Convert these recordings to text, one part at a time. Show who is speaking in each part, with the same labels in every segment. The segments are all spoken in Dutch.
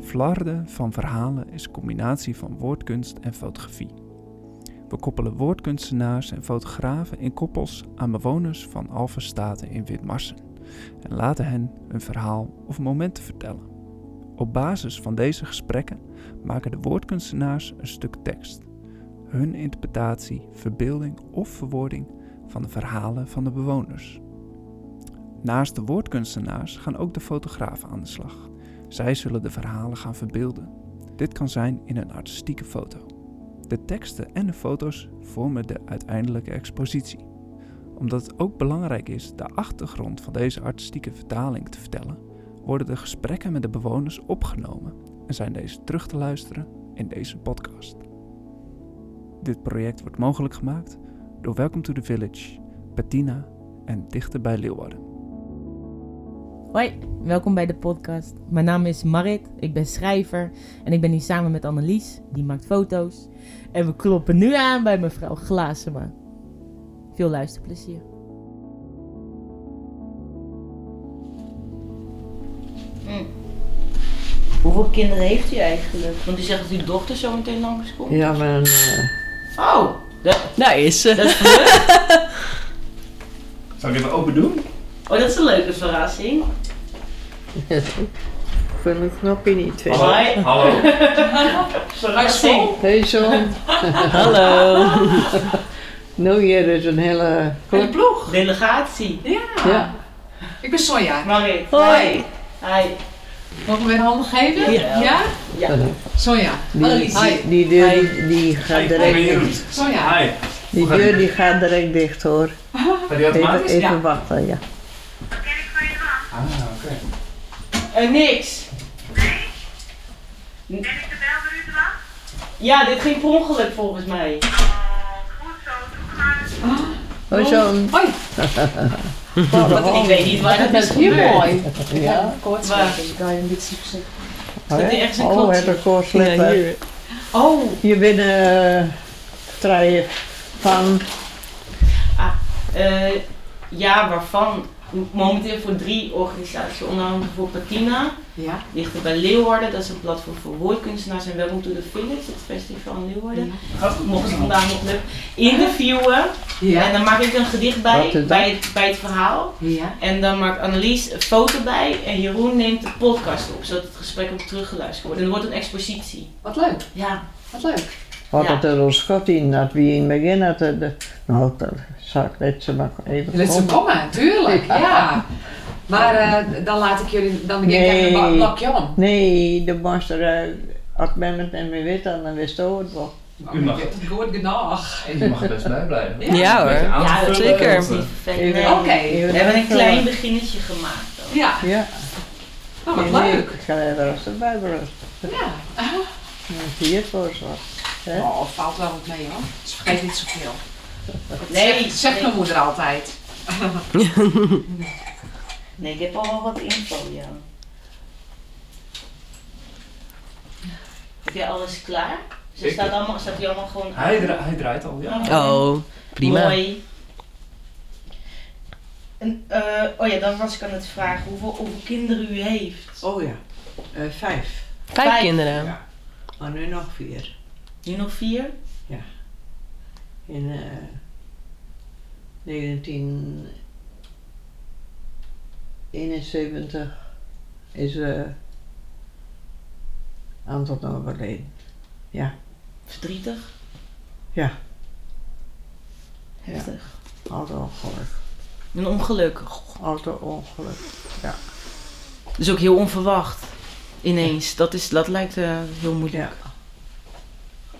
Speaker 1: flarden van verhalen is een combinatie van woordkunst en fotografie. We koppelen woordkunstenaars en fotografen in koppels aan bewoners van Alphenstaten in Witmarsen en laten hen hun verhaal of momenten vertellen. Op basis van deze gesprekken maken de woordkunstenaars een stuk tekst. Hun interpretatie, verbeelding of verwoording van de verhalen van de bewoners. Naast de woordkunstenaars gaan ook de fotografen aan de slag. Zij zullen de verhalen gaan verbeelden. Dit kan zijn in een artistieke foto. De teksten en de foto's vormen de uiteindelijke expositie. Omdat het ook belangrijk is de achtergrond van deze artistieke vertaling te vertellen, worden de gesprekken met de bewoners opgenomen en zijn deze terug te luisteren in deze podcast. Dit project wordt mogelijk gemaakt door Welcome to the Village, Bettina en Dichter bij Leeuwarden.
Speaker 2: Hoi, welkom bij de podcast. Mijn naam is Marit, ik ben schrijver en ik ben hier samen met Annelies, die maakt foto's. En we kloppen nu aan bij mevrouw Glazema. Veel luisterplezier.
Speaker 3: Hm. Hoeveel kinderen heeft u eigenlijk? Want u zegt dat uw dochter zo meteen langs komt.
Speaker 4: Ja, mijn. eh,
Speaker 3: Oh, dat,
Speaker 4: daar is ze.
Speaker 3: dat is leuk.
Speaker 1: Zal ik even open doen?
Speaker 3: Oh, dat is een leuke verrassing.
Speaker 4: Ik vind het knopje niet vinden.
Speaker 3: Hoi.
Speaker 1: Hallo.
Speaker 3: Verrassing.
Speaker 4: Hey John.
Speaker 2: Hallo.
Speaker 4: Nou, hier is een hele
Speaker 5: Van de
Speaker 4: club.
Speaker 5: ploeg.
Speaker 3: Delegatie.
Speaker 5: Ja.
Speaker 4: Ja.
Speaker 5: Ik ben Sonja.
Speaker 3: Marit.
Speaker 2: Hoi.
Speaker 3: Hi.
Speaker 5: Mogen we een hand geven?
Speaker 3: Ja. Ja.
Speaker 5: Sonja.
Speaker 4: Die,
Speaker 5: Hi.
Speaker 4: die, die deur die gaat direct dicht.
Speaker 5: Sonja.
Speaker 4: Die deur die gaat direct dicht hoor. Even,
Speaker 5: is, ja.
Speaker 4: even wachten, ja.
Speaker 3: Eh, niks.
Speaker 6: Ben ik de bel voor u te laat?
Speaker 3: Ja, dit ging per ongeluk volgens mij.
Speaker 6: Goed zo, doe maar.
Speaker 4: Oh John.
Speaker 5: Hoi.
Speaker 3: Ik weet niet waar dat is
Speaker 5: Hier
Speaker 3: gebeurd.
Speaker 5: mooi.
Speaker 4: Ja.
Speaker 3: Maar
Speaker 4: Oh,
Speaker 3: er ergens een
Speaker 4: oh
Speaker 3: klopje?
Speaker 4: heb ik hoor slipper.
Speaker 2: hier.
Speaker 3: Oh,
Speaker 4: Hier binnen uh, treien van.
Speaker 3: eh, ja, waarvan? Momenteel voor drie organisaties, onder andere voor Patina,
Speaker 5: Ja.
Speaker 3: dichter bij Leeuwarden, dat is een platform voor woordkunstenaars en Welcome to the Village, het festival in Leeuwarden. Mocht ik vandaag nog leuk interviewen en
Speaker 5: Ja.
Speaker 3: dan maak ik een gedicht bij,
Speaker 4: Rotterdam.
Speaker 3: bij het, bij het verhaal.
Speaker 5: Ja.
Speaker 3: En dan maakt Annelies een foto bij en Jeroen neemt de podcast op, zodat het gesprek ook teruggeluisterd wordt. En het wordt een expositie.
Speaker 5: Wat leuk.
Speaker 3: Ja,
Speaker 5: Wat leuk.
Speaker 4: Had
Speaker 3: Ja.
Speaker 4: het er ons schot in dat we in het begin hadden. de- Nou, dat zou ik net zo maar even.
Speaker 5: Je laat ze
Speaker 4: komen.
Speaker 5: komen, tuurlijk. Ja. Maar eh, dan laat ik jullie, dan begin ik
Speaker 4: Nee.
Speaker 5: even een blokje om.
Speaker 4: Nee, de monster, eh, als men het niet meer weet, dan wist hij het wel.
Speaker 7: U mag.
Speaker 5: het goed genoeg.
Speaker 7: Je mag er best bij blijven.
Speaker 5: Ja.
Speaker 8: hoor.
Speaker 3: ja dat
Speaker 8: zeker.
Speaker 1: eh,
Speaker 3: is niet vervelend.
Speaker 4: Even-
Speaker 3: Nee.
Speaker 5: Oké.
Speaker 3: We hebben een klein beginnetje gemaakt. dan.
Speaker 5: Ja.
Speaker 4: Ja,
Speaker 5: Oh, wat
Speaker 4: nee,
Speaker 5: leuk.
Speaker 4: Ik ga er als de Bijbel uit.
Speaker 5: Ja.
Speaker 4: Zie je voor zo. Hè?
Speaker 5: Oh, valt wel wat mee hoor. Dus vergeet niet zoveel.
Speaker 3: Nee,
Speaker 5: Zegt zegt
Speaker 3: nee.
Speaker 5: mijn moeder altijd.
Speaker 3: Nee, ik heb al wel wat info, ja. Heb jij alles klaar? Ze
Speaker 7: Ik-
Speaker 3: staat, allemaal, staat hier allemaal gewoon aan.
Speaker 7: Hij, dra- hij draait al, ja.
Speaker 8: Oh, prima.
Speaker 3: Mooi. En, eh, oh ja, dan was ik aan het vragen hoeveel, hoeveel kinderen u heeft.
Speaker 4: Oh ja, Eh, vijf.
Speaker 8: Vijf,
Speaker 3: Vijf.
Speaker 8: kinderen.
Speaker 4: Ja. Maar nu nog vier.
Speaker 3: Nu nog vier?
Speaker 4: In eh, 1971 is eh Anton overleden.
Speaker 3: Verdrietig?
Speaker 4: Ja.
Speaker 3: Heftig.
Speaker 4: Altijd ongeluk.
Speaker 3: Een ongeluk. Goh,
Speaker 4: Altijd ongeluk.
Speaker 3: Dat is ook heel onverwacht. Ineens. Dat, is, dat lijkt eh, heel moeilijk.
Speaker 4: Ja.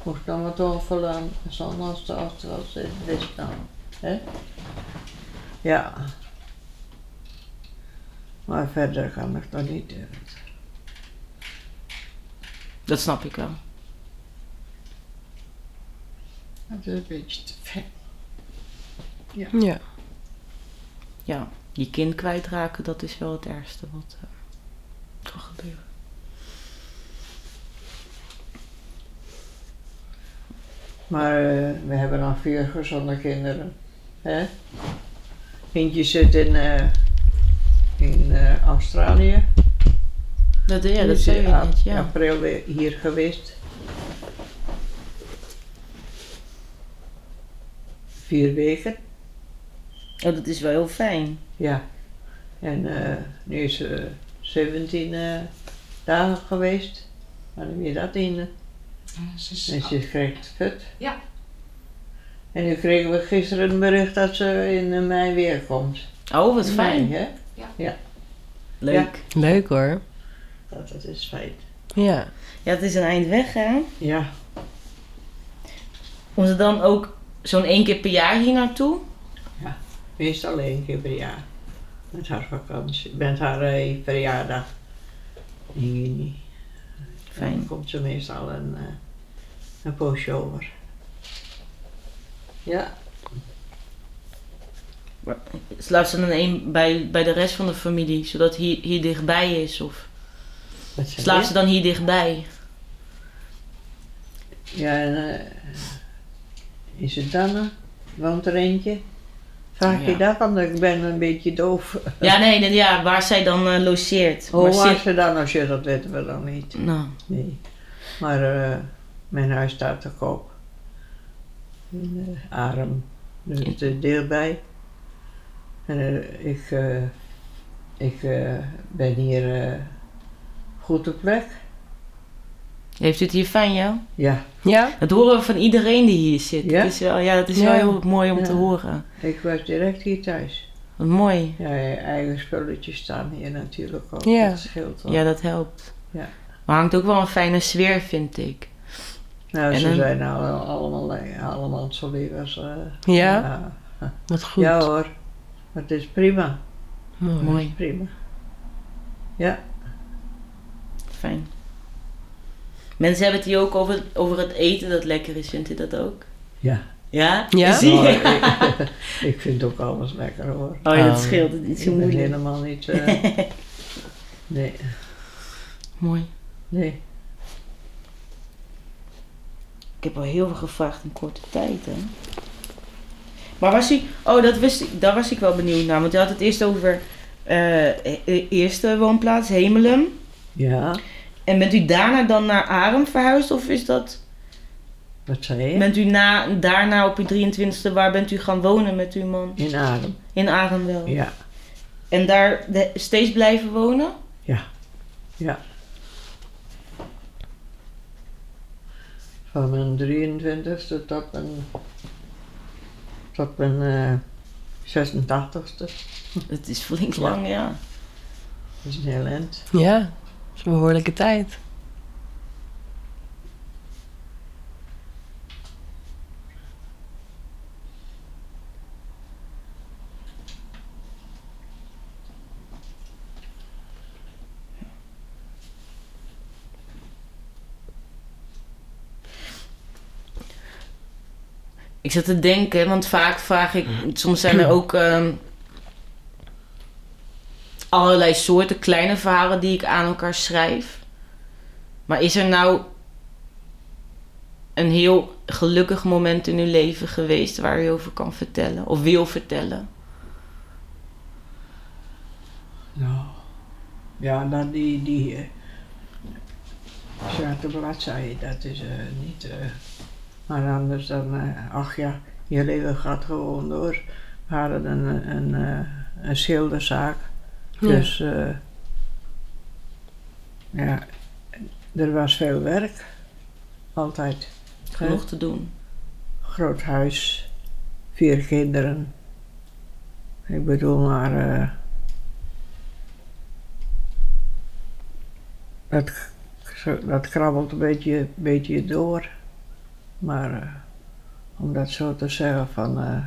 Speaker 4: Moest dan wat overlaan, zonder als het was, dit is dus dan. Hè? Ja. Maar verder kan ik dat niet eh, doen.
Speaker 3: Dat snap ik wel.
Speaker 4: Dat is een beetje te ver.
Speaker 8: Ja.
Speaker 3: ja, je kind kwijtraken, dat is wel het ergste wat eh, kan gebeuren.
Speaker 4: Maar eh, we hebben nog vier gezonde kinderen. Hè? Eentje zit in, eh, in eh, Australië.
Speaker 3: Dat, ja,
Speaker 4: Nu
Speaker 3: dat
Speaker 4: is
Speaker 3: zei je
Speaker 4: in
Speaker 3: net, ja.
Speaker 4: april weer hier geweest. Vier weken,
Speaker 3: Oh, dat is wel heel fijn.
Speaker 4: ja. En eh, nu is ze 17 eh, dagen geweest. Maar dan weer dat in.
Speaker 5: Ja, ze is-
Speaker 4: En ze kreeg het kut.
Speaker 5: Ja.
Speaker 4: En nu kregen we gisteren een bericht dat ze in eh, mei weer komt.
Speaker 3: Oh, wat fijn.
Speaker 4: Mei, hè?
Speaker 3: Leuk.
Speaker 8: Leuk hoor.
Speaker 4: Dat, dat is fijn.
Speaker 8: Ja.
Speaker 3: Ja, het is een eind weg, hè?
Speaker 4: Ja.
Speaker 3: Komt het dan ook zo'n één keer per jaar hier naartoe?
Speaker 4: Meestal één keer per jaar. Met haar vakantie, met haar eh, verjaardag. In juni.
Speaker 3: Fijn.
Speaker 4: Dan komt ze meestal een, eh, een poosje over. Ja.
Speaker 3: Slaat ze dan een bij, bij de rest van de familie, zodat hier, hier dichtbij is? Of
Speaker 4: Wat zeg
Speaker 3: slaat
Speaker 4: je?
Speaker 3: ze dan hier dichtbij?
Speaker 4: Ja, en eh, is het dan? eh, Woont er eentje? Vraag je
Speaker 3: Ja.
Speaker 4: dat, want ik ben een beetje doof.
Speaker 3: Ja, nee, dan- ja, waar zij dan eh, logeert.
Speaker 4: Hoe
Speaker 3: Maar
Speaker 4: was
Speaker 3: zit-
Speaker 4: ze dan als je dat weten we dan niet.
Speaker 3: Nou,
Speaker 4: Nee. Maar eh, mijn huis staat te koop. In eh, Arem. Dus het is dichtbij. En eh, ik, eh, ik eh, ben hier eh, goed op plek.
Speaker 3: heeft u het hier fijn, ja?
Speaker 4: Ja,
Speaker 8: Ja?
Speaker 3: Dat horen we van iedereen die hier zit.
Speaker 4: Ja?
Speaker 3: Het is wel, ja, het is
Speaker 8: Ja.
Speaker 3: wel heel mooi om
Speaker 4: Ja.
Speaker 3: te horen.
Speaker 4: ik was direct hier thuis.
Speaker 3: Wat mooi.
Speaker 4: Ja, je eigen spulletjes staan hier natuurlijk ook.
Speaker 8: Ja.
Speaker 4: Dat scheelt wel.
Speaker 3: Ja, dat helpt.
Speaker 4: Ja.
Speaker 3: Maar hangt ook wel een fijne sfeer, vind ik.
Speaker 4: Nou,
Speaker 3: en
Speaker 4: ze
Speaker 3: dan-
Speaker 4: zijn alle- allemaal, allemaal zo lief als... eh,
Speaker 8: Ja? Wat goed.
Speaker 4: ja hoor. Maar het is prima.
Speaker 8: Mooi.
Speaker 3: Mooi,
Speaker 4: Prima.
Speaker 3: fijn. Mensen hebben het hier ook over, over het eten dat lekker is. Vindt u dat ook?
Speaker 4: Ja.
Speaker 3: Ja?
Speaker 8: Ja?
Speaker 3: Zie
Speaker 4: Nou,
Speaker 3: je?
Speaker 4: ik, ik vind ook alles lekker hoor.
Speaker 3: Oh ja,
Speaker 8: Oh.
Speaker 3: dat scheelt. Het is
Speaker 4: Ik
Speaker 3: zo
Speaker 4: ben
Speaker 3: moeilijk.
Speaker 4: helemaal niet. eh, nee,
Speaker 3: Mooi.
Speaker 4: nee.
Speaker 3: Ik heb al heel veel gevraagd in korte tijd, hè. Maar was hij... Oh, dat wist ik, daar was ik wel benieuwd naar. Want je had het eerst over eh, e- e- eerste woonplaats, Hemelum.
Speaker 4: Ja,
Speaker 3: En bent u daarna dan naar Arem verhuisd? Of is dat...
Speaker 4: wat zei je?
Speaker 3: Bent u na, daarna op uw 23e... Waar bent u gaan wonen met uw man?
Speaker 4: In adem.
Speaker 3: In Arem wel.
Speaker 4: Ja,
Speaker 3: En daar de- steeds blijven wonen?
Speaker 4: van mijn 23ste tot mijn. tot mijn eh 86ste.
Speaker 3: Het is flink lang, ja.
Speaker 4: Dat is een heel eind.
Speaker 8: Ja. Dat is een behoorlijke tijd.
Speaker 3: Ik zat te denken, want vaak vraag ik... Soms zijn er ook ehm, allerlei soorten kleine verhalen die ik aan elkaar schrijf. Maar is er nou een heel gelukkig moment in uw leven geweest... waar u over kan vertellen of wil vertellen?
Speaker 4: Nou. Ja, dan die. die eh, zwarte bladzijde, dat is eh, niet. eh, maar anders dan. eh, ach ja, je leven gaat gewoon door. We hadden een, een, eh, een schilderzaak.
Speaker 8: Ja.
Speaker 4: Dus. eh, ja, er was veel werk. Altijd.
Speaker 3: Genoeg te doen.
Speaker 4: Groot huis, vier kinderen. Ik bedoel maar. eh, dat, k- dat krabbelt een beetje, beetje door. Maar eh, om dat zo te zeggen van. eh,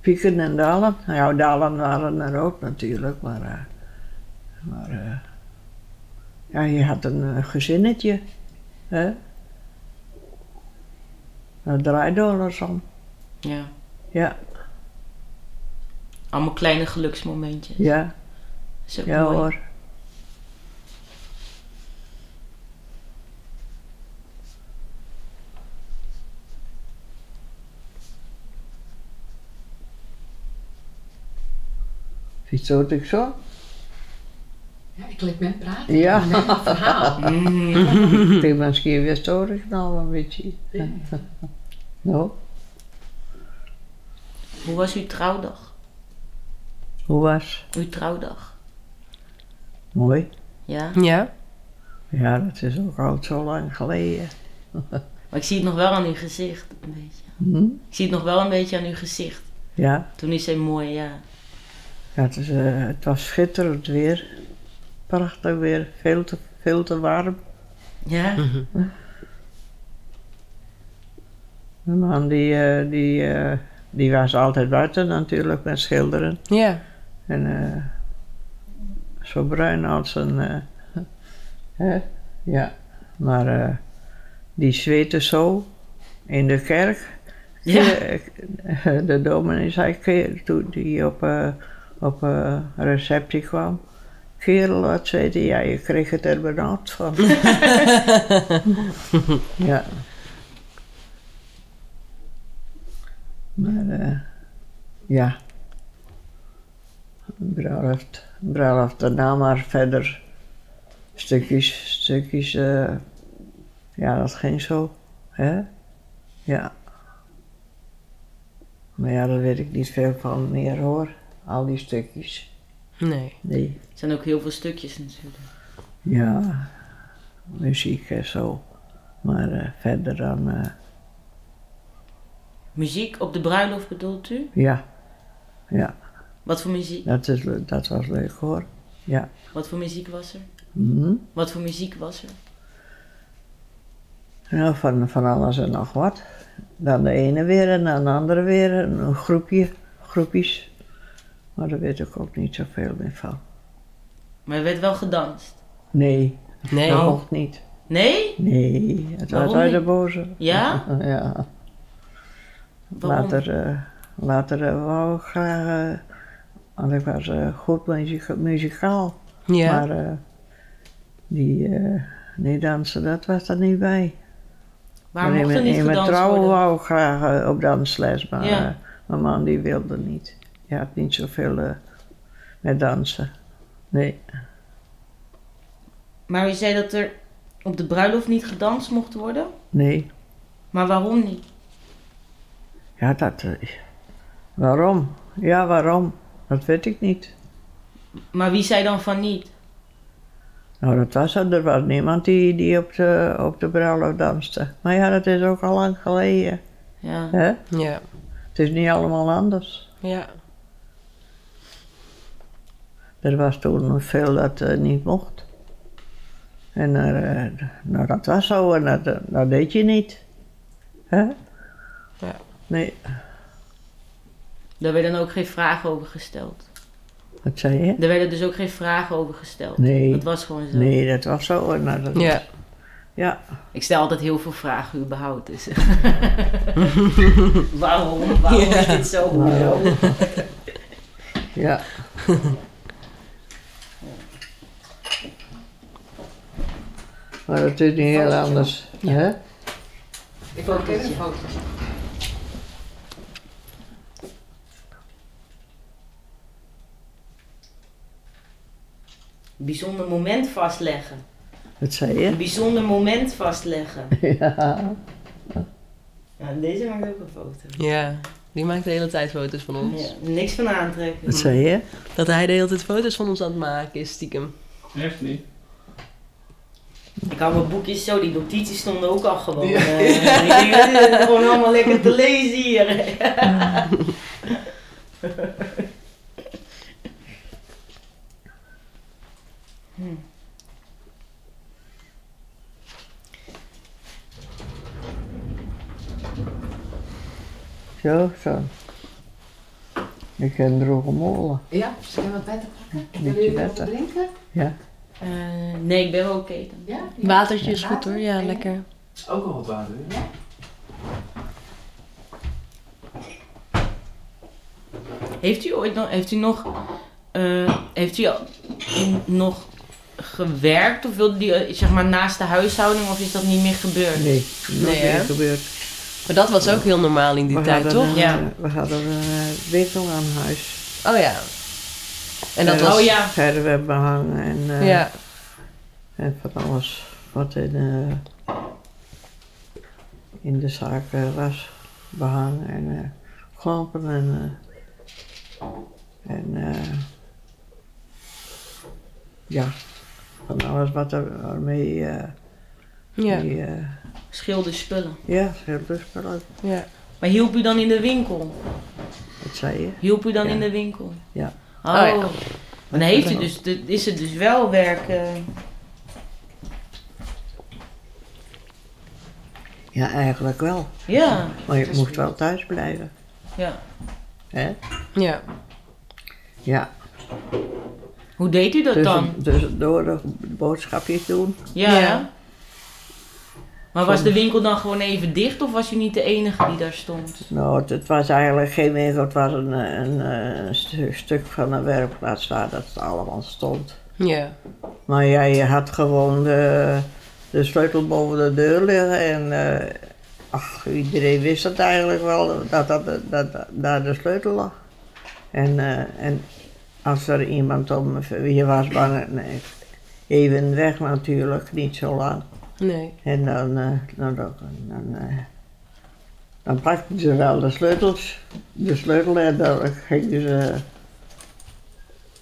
Speaker 4: pieken en dalen. Nou ja, dalen waren er ook natuurlijk, maar. eh, maar eh, ja, je had een eh, gezinnetje. Hè? Dat draait door ons om.
Speaker 3: Ja.
Speaker 4: Ja,
Speaker 3: Allemaal kleine geluksmomentjes.
Speaker 4: ja,
Speaker 3: Is ook
Speaker 4: ja
Speaker 3: mooi.
Speaker 4: hoor. Wie zult ik zo?
Speaker 5: Ja, ik klik met praten.
Speaker 4: Ja.
Speaker 5: Met een verhaal.
Speaker 3: Mm.
Speaker 4: Ik denk misschien weer storig nou een beetje. Nou,
Speaker 3: Hoe was uw trouwdag?
Speaker 4: hoe was?
Speaker 3: Uw trouwdag.
Speaker 4: Mooi.
Speaker 3: Ja?
Speaker 8: Ja?
Speaker 4: Ja, dat is ook al zo lang geleden.
Speaker 3: Maar ik zie het nog wel aan uw gezicht, een beetje.
Speaker 4: Hm?
Speaker 3: Ik zie het nog wel een beetje aan uw gezicht.
Speaker 4: Ja,
Speaker 3: Toen is hij mooi, ja.
Speaker 4: ja het, is, eh, het was schitterend weer. Prachtig weer. Veel te, veel te warm.
Speaker 3: Ja?
Speaker 4: Mijn man die, eh, die, eh, die was altijd buiten natuurlijk met schilderen.
Speaker 8: Ja.
Speaker 4: En eh, zo bruin als een. eh, hè? Ja, maar eh, die zweette zo in de kerk.
Speaker 3: Ja.
Speaker 4: Eh, De dominee zei, "Kerel," toen die op, eh, op eh, receptie kwam. Kerel, wat zweette Ja, je kreeg het er benauwd van. ja. Maar eh, ja, bruiloft, bruiloft daarna maar verder stukjes, stukjes, eh, ja dat ging zo, hè? Ja. Maar ja, daar weet ik niet veel van meer hoor, al die stukjes.
Speaker 8: Nee.
Speaker 4: Nee.
Speaker 3: Er zijn ook heel veel stukjes natuurlijk.
Speaker 4: Ja, muziek en zo, maar eh, verder dan, eh,
Speaker 3: Muziek op de bruiloft bedoelt u?
Speaker 4: ja,
Speaker 3: Wat voor muziek,
Speaker 4: dat, is, le- dat was leuk hoor.
Speaker 3: wat voor muziek was er?
Speaker 4: Mhm.
Speaker 3: Wat voor muziek was er?
Speaker 4: Nou, van, van alles en nog wat. Dan de ene weer en dan de andere weer. en Een groepje, groepjes. Maar daar weet ik ook niet zoveel meer van.
Speaker 3: Maar er werd wel gedanst.
Speaker 4: Nee,
Speaker 8: Nee.
Speaker 4: dat mocht niet.
Speaker 3: Nee?
Speaker 4: Nee, het was
Speaker 3: Waarom
Speaker 4: uit de
Speaker 3: niet?
Speaker 4: boze.
Speaker 3: Ja?
Speaker 4: Ja.
Speaker 3: Waarom?
Speaker 4: Later, eh, later eh, wou ik graag... eh, want ik was eh, goed muzika- muzikaal.
Speaker 8: Ja.
Speaker 4: Maar eh, die... eh, nee, dansen, dat was er niet bij.
Speaker 3: Waar
Speaker 4: Maar
Speaker 3: mocht er
Speaker 4: in,
Speaker 3: niet
Speaker 4: mijn- in mijn
Speaker 3: gedanst
Speaker 4: trouwen
Speaker 3: worden?
Speaker 4: wou ik graag eh, op dansles, maar
Speaker 3: Ja.
Speaker 4: eh, mijn man die wilde niet. Hij had niet zoveel eh, met dansen. Nee,
Speaker 3: Maar u zei dat er op de bruiloft niet gedanst mocht worden?
Speaker 4: nee.
Speaker 3: Maar waarom niet?
Speaker 4: Ja, dat... eh, waarom? Ja, waarom? Dat weet ik niet.
Speaker 3: Maar wie zei dan van niet?
Speaker 4: Nou, dat was er. Er was niemand die, die op, de, op de bruiloft danste. Maar ja, dat is ook al lang geleden.
Speaker 3: Ja.
Speaker 4: Hè?
Speaker 8: Ja.
Speaker 4: Het is niet allemaal anders.
Speaker 8: Ja.
Speaker 4: Er was toen veel dat eh, niet mocht. En eh, nou, dat was zo en dat, eh, dat deed je niet. Hè?
Speaker 8: Ja.
Speaker 4: Nee,
Speaker 3: Daar werden ook geen vragen over gesteld.
Speaker 4: wat zei je?
Speaker 3: Er werden dus ook geen vragen over gesteld.
Speaker 4: Nee.
Speaker 3: Dat was gewoon zo.
Speaker 4: Nee, dat was zo en dat- dat...
Speaker 8: Ja.
Speaker 4: Ja,
Speaker 3: Ik stel altijd heel veel vragen überhaupt. Dus. waarom? Waarom is dit zo? Hoezo?
Speaker 4: ja. maar het is niet heel anders. Hè?
Speaker 5: Ik wil ook even een fotootje.
Speaker 3: Bijzonder moment vastleggen.
Speaker 4: Wat zei je?
Speaker 3: Een bijzonder moment vastleggen.
Speaker 4: Ja.
Speaker 3: Nou, deze maakt ook een foto.
Speaker 8: Ja. Die maakt de hele tijd foto's van ons.
Speaker 3: Ja, niks van aantrekken.
Speaker 4: Wat zei je?
Speaker 8: Dat hij de hele tijd foto's van ons aan het maken is, stiekem.
Speaker 7: Echt niet.
Speaker 3: Ik had mijn boekjes zo, die notities stonden ook al gewoon. eh, ik denk, dit is gewoon allemaal lekker te lezen hier. Hm.
Speaker 4: Zo, zo. Ik heb een droge molen.
Speaker 5: Ja, zullen we wat bij te pakken?
Speaker 4: Beetje
Speaker 5: Willen jullie wat
Speaker 4: wetten.
Speaker 5: drinken?
Speaker 3: Eh, nee, ik ben wel oké dan.
Speaker 5: Ja? ja.
Speaker 8: Watertje is goed hoor. Ja, lekker.
Speaker 7: Ook nog wat water. hè?
Speaker 3: Heeft u ooit nog, heeft u nog, eh, heeft u al- nog gewerkt of wilde u eh, zeg maar naast de huishouding of is dat niet meer gebeurd?
Speaker 4: Nee,
Speaker 8: Nee,
Speaker 4: nee,
Speaker 8: hè?
Speaker 4: is gebeurd.
Speaker 8: Maar dat was ook heel normaal in die tijd,
Speaker 4: hadden
Speaker 8: toch?
Speaker 4: Een,
Speaker 3: Ja.
Speaker 4: We hadden een eh, winkel aan huis.
Speaker 8: Oh ja. En dat
Speaker 4: Verf-
Speaker 8: was...
Speaker 9: Oh ja.
Speaker 4: Verf behangen en, eh,
Speaker 8: Ja.
Speaker 4: en van alles wat in, eh, in de zaak eh, was. Behangen en eh, klompen en... eh, en eh, ja, van alles wat er mee... eh,
Speaker 8: Ja.
Speaker 4: die, eh,
Speaker 3: Schilder spullen.
Speaker 4: ja, schilderspullen.
Speaker 8: Ja.
Speaker 3: Maar hielp u dan in de winkel?
Speaker 4: Dat zei je.
Speaker 3: Hielp u dan
Speaker 4: Ja.
Speaker 3: in de winkel?
Speaker 4: Ja.
Speaker 3: Oh,
Speaker 8: ja.
Speaker 3: Dan heeft u dus, dit- is het dus wel werk. eh,
Speaker 4: Ja, eigenlijk wel.
Speaker 3: ja,
Speaker 4: Maar je moest wel thuis blijven.
Speaker 3: ja.
Speaker 4: Hè?
Speaker 8: Ja.
Speaker 4: Ja.
Speaker 3: Hoe deed u dat
Speaker 4: Dus,
Speaker 3: dan?
Speaker 4: dus door de boodschapjes doen.
Speaker 3: Ja.
Speaker 8: Ja.
Speaker 3: Maar was de winkel dan gewoon even dicht of was u niet de enige die daar stond?
Speaker 4: Nou, het, het was eigenlijk geen winkel, het was een, eh, een, eh, een stu- stuk van een werkplaats waar dat allemaal stond.
Speaker 8: Ja.
Speaker 4: Maar ja, je had gewoon de, de sleutel boven de deur liggen en eh, ach, iedereen wist het eigenlijk wel, dat, dat, dat, dat- daar de sleutel lag. En, eh, en als er iemand om, je was bang, nee, even weg natuurlijk, niet zo lang.
Speaker 8: Nee.
Speaker 4: En dan, eh, nou, dan, dan, eh, dan pakten ze wel de sleutels, de sleutel en dan gingen ze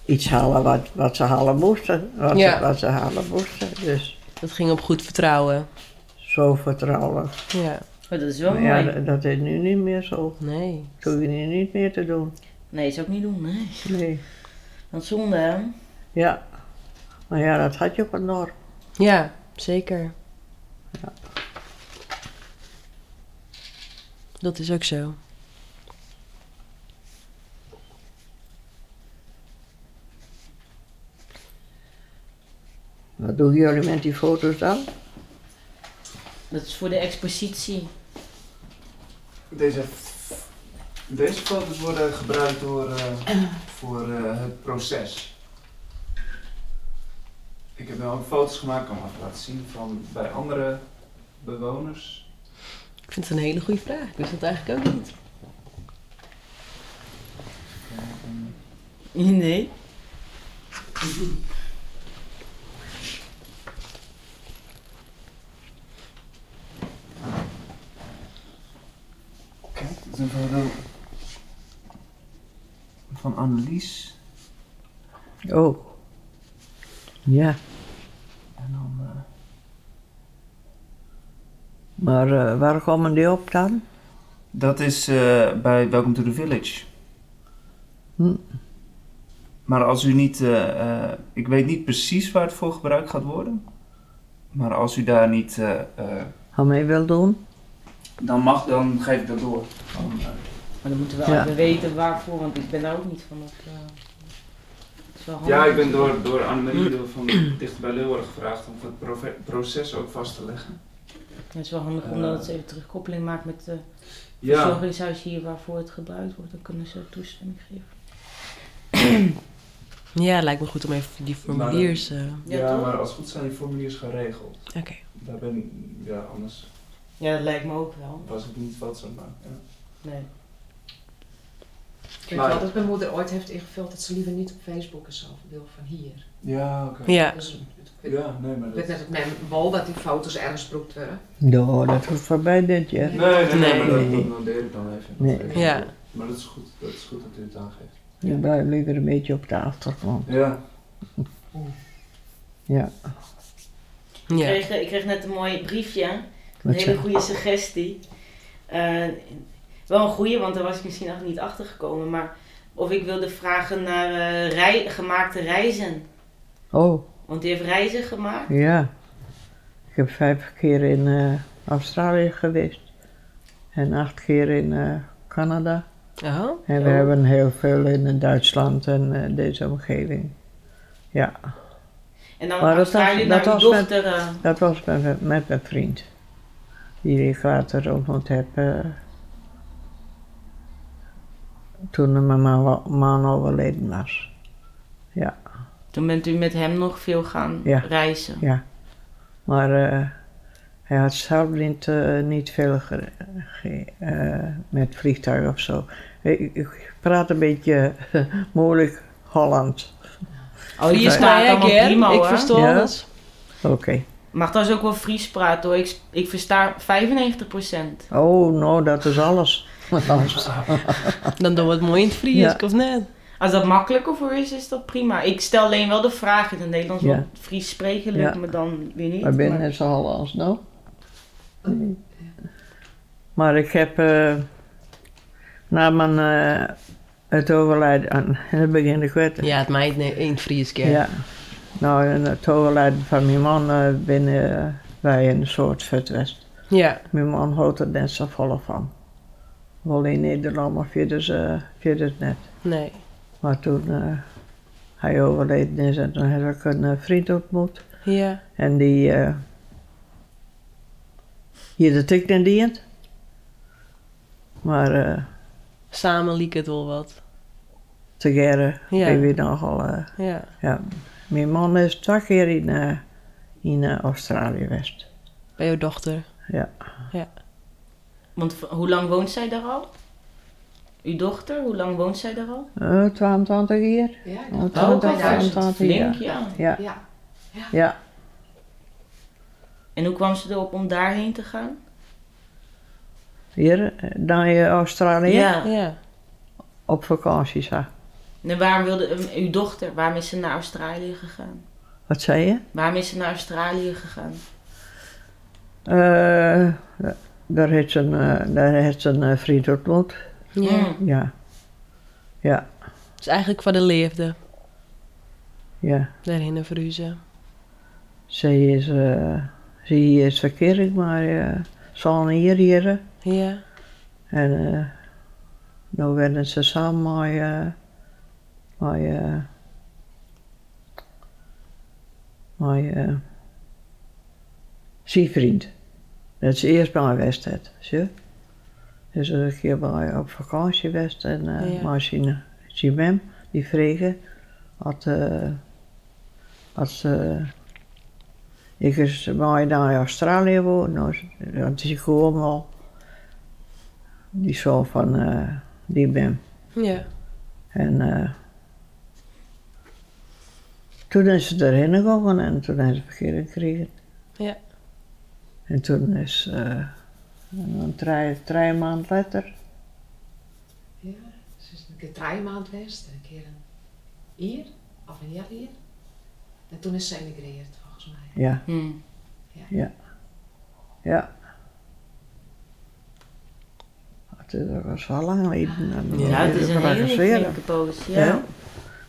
Speaker 4: iets halen wat, wat ze halen moesten. Wat,
Speaker 8: Ja.
Speaker 4: ze, wat ze halen moesten. Dus
Speaker 8: Dat ging op goed vertrouwen.
Speaker 4: zo vertrouwelijk.
Speaker 8: Ja.
Speaker 3: Maar dat is wel
Speaker 4: Maar
Speaker 3: mooi.
Speaker 4: ja, dat- dat is nu niet meer zo.
Speaker 8: Nee.
Speaker 4: Dat hoef je nu niet meer te doen.
Speaker 3: Nee, dat zou ik niet doen. Nee.
Speaker 4: Nee.
Speaker 3: Dat is zonde, hè?
Speaker 4: Ja. Maar ja, dat had je op een dorp.
Speaker 8: Ja. Zeker. Dat is ook zo.
Speaker 4: Wat doen jullie met die foto's dan?
Speaker 3: Dat is voor de expositie.
Speaker 1: Deze, deze foto's worden gebruikt door, eh, voor eh, het proces. Ik heb nou ook foto's gemaakt, kan ik even laten zien, van bij andere bewoners.
Speaker 8: Ik vind het een hele goede vraag. Ik wist dat eigenlijk ook niet.
Speaker 3: Nee.
Speaker 1: Kijk, dat is een foto van Annelies.
Speaker 4: Oh. Ja.
Speaker 1: En dan, eh,
Speaker 4: Maar eh, waar komen die op dan?
Speaker 1: dat is eh, bij Welcome to the Village.
Speaker 4: Hm.
Speaker 1: Maar als u niet, eh, eh, ik weet niet precies waar het voor gebruikt gaat worden. Maar als u daar niet eh, eh,
Speaker 4: Aan mee wil doen?
Speaker 1: Dan mag, dan geef ik dat door. Dan, eh,
Speaker 3: Maar dan moeten we
Speaker 4: Ja.
Speaker 3: even weten waarvoor, want ik ben daar ook niet van op. eh, het is wel
Speaker 1: ja,
Speaker 3: handig.
Speaker 1: ik ben door, door Annemarie de- van Dichter bij Leeuwarden gevraagd om het prove- proces ook vast te leggen.
Speaker 3: Het is wel handig omdat het even terugkoppeling maakt met de
Speaker 1: Ja,
Speaker 3: verzorgingshuis hier waarvoor het gebruikt wordt. Dan kunnen ze toestemming geven.
Speaker 8: Ja, lijkt me goed om even die
Speaker 3: Nou,
Speaker 8: formuliers... eh,
Speaker 3: Ja,
Speaker 1: ja,
Speaker 3: toch?
Speaker 1: maar als het goed zijn die formuliers geregeld.
Speaker 8: Oké.
Speaker 1: Daar ben ik, ja, anders
Speaker 3: Ja, dat lijkt me ook wel.
Speaker 1: was ik niet wat zo maken. Ja.
Speaker 3: Nee.
Speaker 5: Ik weet wel dat mijn moeder ooit heeft ingevuld dat ze liever niet op Facebook en zo wil van hier.
Speaker 1: Ja, oké.
Speaker 8: Ja.
Speaker 5: Dus, ik weet-
Speaker 1: Ja, nee, maar dat...
Speaker 5: ik weet net dat mijn wol dat die foto's ergens broekt werden.
Speaker 4: Ja, dat hoeft voorbij dit jaar.
Speaker 1: Nee, nee, nee,
Speaker 8: Nee.
Speaker 1: maar dat, dat noteer ik dan even.
Speaker 4: Nee.
Speaker 1: Dat geef ik
Speaker 8: Ja.
Speaker 1: door. Maar dat is goed, dat is goed dat u het aangeeft.
Speaker 4: Ik blijf liever een beetje op de achtergrond.
Speaker 1: Ja.
Speaker 4: Ja.
Speaker 3: Ik,
Speaker 8: Ja.
Speaker 3: kreeg, ik kreeg net een mooi briefje. Een
Speaker 4: Wat
Speaker 3: hele
Speaker 4: zeg-
Speaker 3: goede suggestie. Eh, wel een goede, want daar was ik misschien nog niet achter gekomen. Maar of ik wilde vragen naar eh, rei- gemaakte reizen.
Speaker 4: Oh,
Speaker 3: Want die heeft reizen gemaakt.
Speaker 4: ja. Ik heb vijf keer in eh, Australië geweest. En acht keer in eh, Canada.
Speaker 8: Aha.
Speaker 4: En we
Speaker 3: Oh.
Speaker 4: hebben heel veel in Duitsland en eh, deze omgeving. Ja,
Speaker 3: En dan
Speaker 4: Maar dat was-
Speaker 3: Australië naar
Speaker 4: dat
Speaker 3: uw
Speaker 4: was met-
Speaker 3: dochter. eh,
Speaker 4: dat was met, met mijn vriend. Die ik later ontmoet heb. eh, toen mijn ma- man overleden was.
Speaker 3: Toen bent u met hem nog veel gaan
Speaker 4: Ja.
Speaker 3: reizen.
Speaker 4: Maar eh, hij had zelf niet, eh, niet veel ge- ge- eh, met vliegtuig of zo. Ik, ik praat een beetje moeilijk Holland.
Speaker 3: Oh, die
Speaker 4: Fries
Speaker 3: staat allemaal prima
Speaker 8: Ik
Speaker 3: hoor.
Speaker 8: verstoor
Speaker 4: Ja.
Speaker 8: alles.
Speaker 4: Oké.
Speaker 3: Mag dat ook wel Fries praten hoor. Ik, ik versta 95%.
Speaker 4: Oh, nou, dat is alles.
Speaker 8: Dan doen we het mooi in het Fries,
Speaker 4: Ja.
Speaker 8: of net?
Speaker 3: Als dat makkelijker voor is, is dat prima. Ik stel alleen wel de vraag in het Nederlands.
Speaker 4: Ja.
Speaker 3: Want Fries spreken lukt
Speaker 4: Ja.
Speaker 3: me dan weer
Speaker 4: Waar
Speaker 3: niet. maar- Oh,
Speaker 4: binnen ze al als nou? Maar ik heb eh, na mijn eh, het overlijden aan en dan begin ik wet.
Speaker 8: Ja, het meid ne- in het Fries
Speaker 3: eh,
Speaker 8: keer.
Speaker 4: Ja. Nou, en het overlijden van mijn man eh, binnen wij een soort vertwest.
Speaker 8: Ja.
Speaker 4: Mijn man houdt er net zo vol van. Wel in Nederland, maar via dus, eh, via dus net.
Speaker 8: Nee.
Speaker 4: Maar toen eh, hij overleden is, en toen heb ik een eh, vriend ontmoet.
Speaker 8: Ja.
Speaker 4: En die. eh hier de tik naar die in. Maar eh
Speaker 8: Samen liek het wel wat.
Speaker 4: together
Speaker 8: Ja.
Speaker 4: ben we nogal. eh,
Speaker 8: Ja.
Speaker 4: ja. Mijn man is twee keer in, eh, in eh, Australië geweest.
Speaker 8: Bij jouw dochter.
Speaker 3: Want v- hoe lang woont zij daar al? Uw dochter, hoe lang woont zij daar al?
Speaker 4: Eh 22 jaar.
Speaker 5: Ja,
Speaker 4: Oh,
Speaker 5: dat-
Speaker 4: 20,
Speaker 5: Oh,
Speaker 4: 25
Speaker 3: Flink,
Speaker 4: jaar.
Speaker 3: ja.
Speaker 4: Ja,
Speaker 5: ja.
Speaker 4: ja.
Speaker 3: En hoe kwam ze erop om daarheen te gaan?
Speaker 4: Hier, eh, dan in Australië
Speaker 8: Ja.
Speaker 4: op vakantie zag.
Speaker 3: En waarom wilde eh, uw dochter, waarom is ze naar Australië gegaan?
Speaker 4: Wat zei je?
Speaker 3: Waarom is ze naar Australië gegaan?
Speaker 4: Eh, daar heeft ze een, eh, daar heeft ze een eh, vriend ontmoet.
Speaker 8: Ja.
Speaker 3: Mm.
Speaker 4: Ja, ja,
Speaker 8: Dus eigenlijk voor de leefde.
Speaker 4: ja.
Speaker 8: Daarin een verhuizen.
Speaker 4: Ze is, eh ze is verkeerd, maar eh, ze al hier hier. eh,
Speaker 8: Ja.
Speaker 4: En eh nu werden ze samen met, eh met, eh, met eh, zijn vriend. Dat is eerst bij West had, zie je. Dus dat is een keer bij op vakantie geweest en eh
Speaker 8: Ja.
Speaker 4: maar zijn, zijn mem, die vregen, had, eh had ze, ik is bij naar Australië woon, nou, dat is gewoon al, die zoon van eh, die mem.
Speaker 8: Ja.
Speaker 4: En eh, toen is ze erin gegaan en toen heeft ze verkeering gekregen.
Speaker 8: Ja.
Speaker 4: En toen is eh, een drie, drie maand later,
Speaker 5: Ze Dus is een keer drie maand geweest, een keer een hier, of een jaar hier. En toen is ze emigreerd, volgens mij.
Speaker 4: ja,
Speaker 3: Hm.
Speaker 4: ja. Het is- Dat was wel lang geleden. en
Speaker 8: Ja,
Speaker 3: Ja, het is
Speaker 4: dat
Speaker 3: een hele
Speaker 4: organiseren.
Speaker 3: flinke poos. Ja.
Speaker 4: Ja.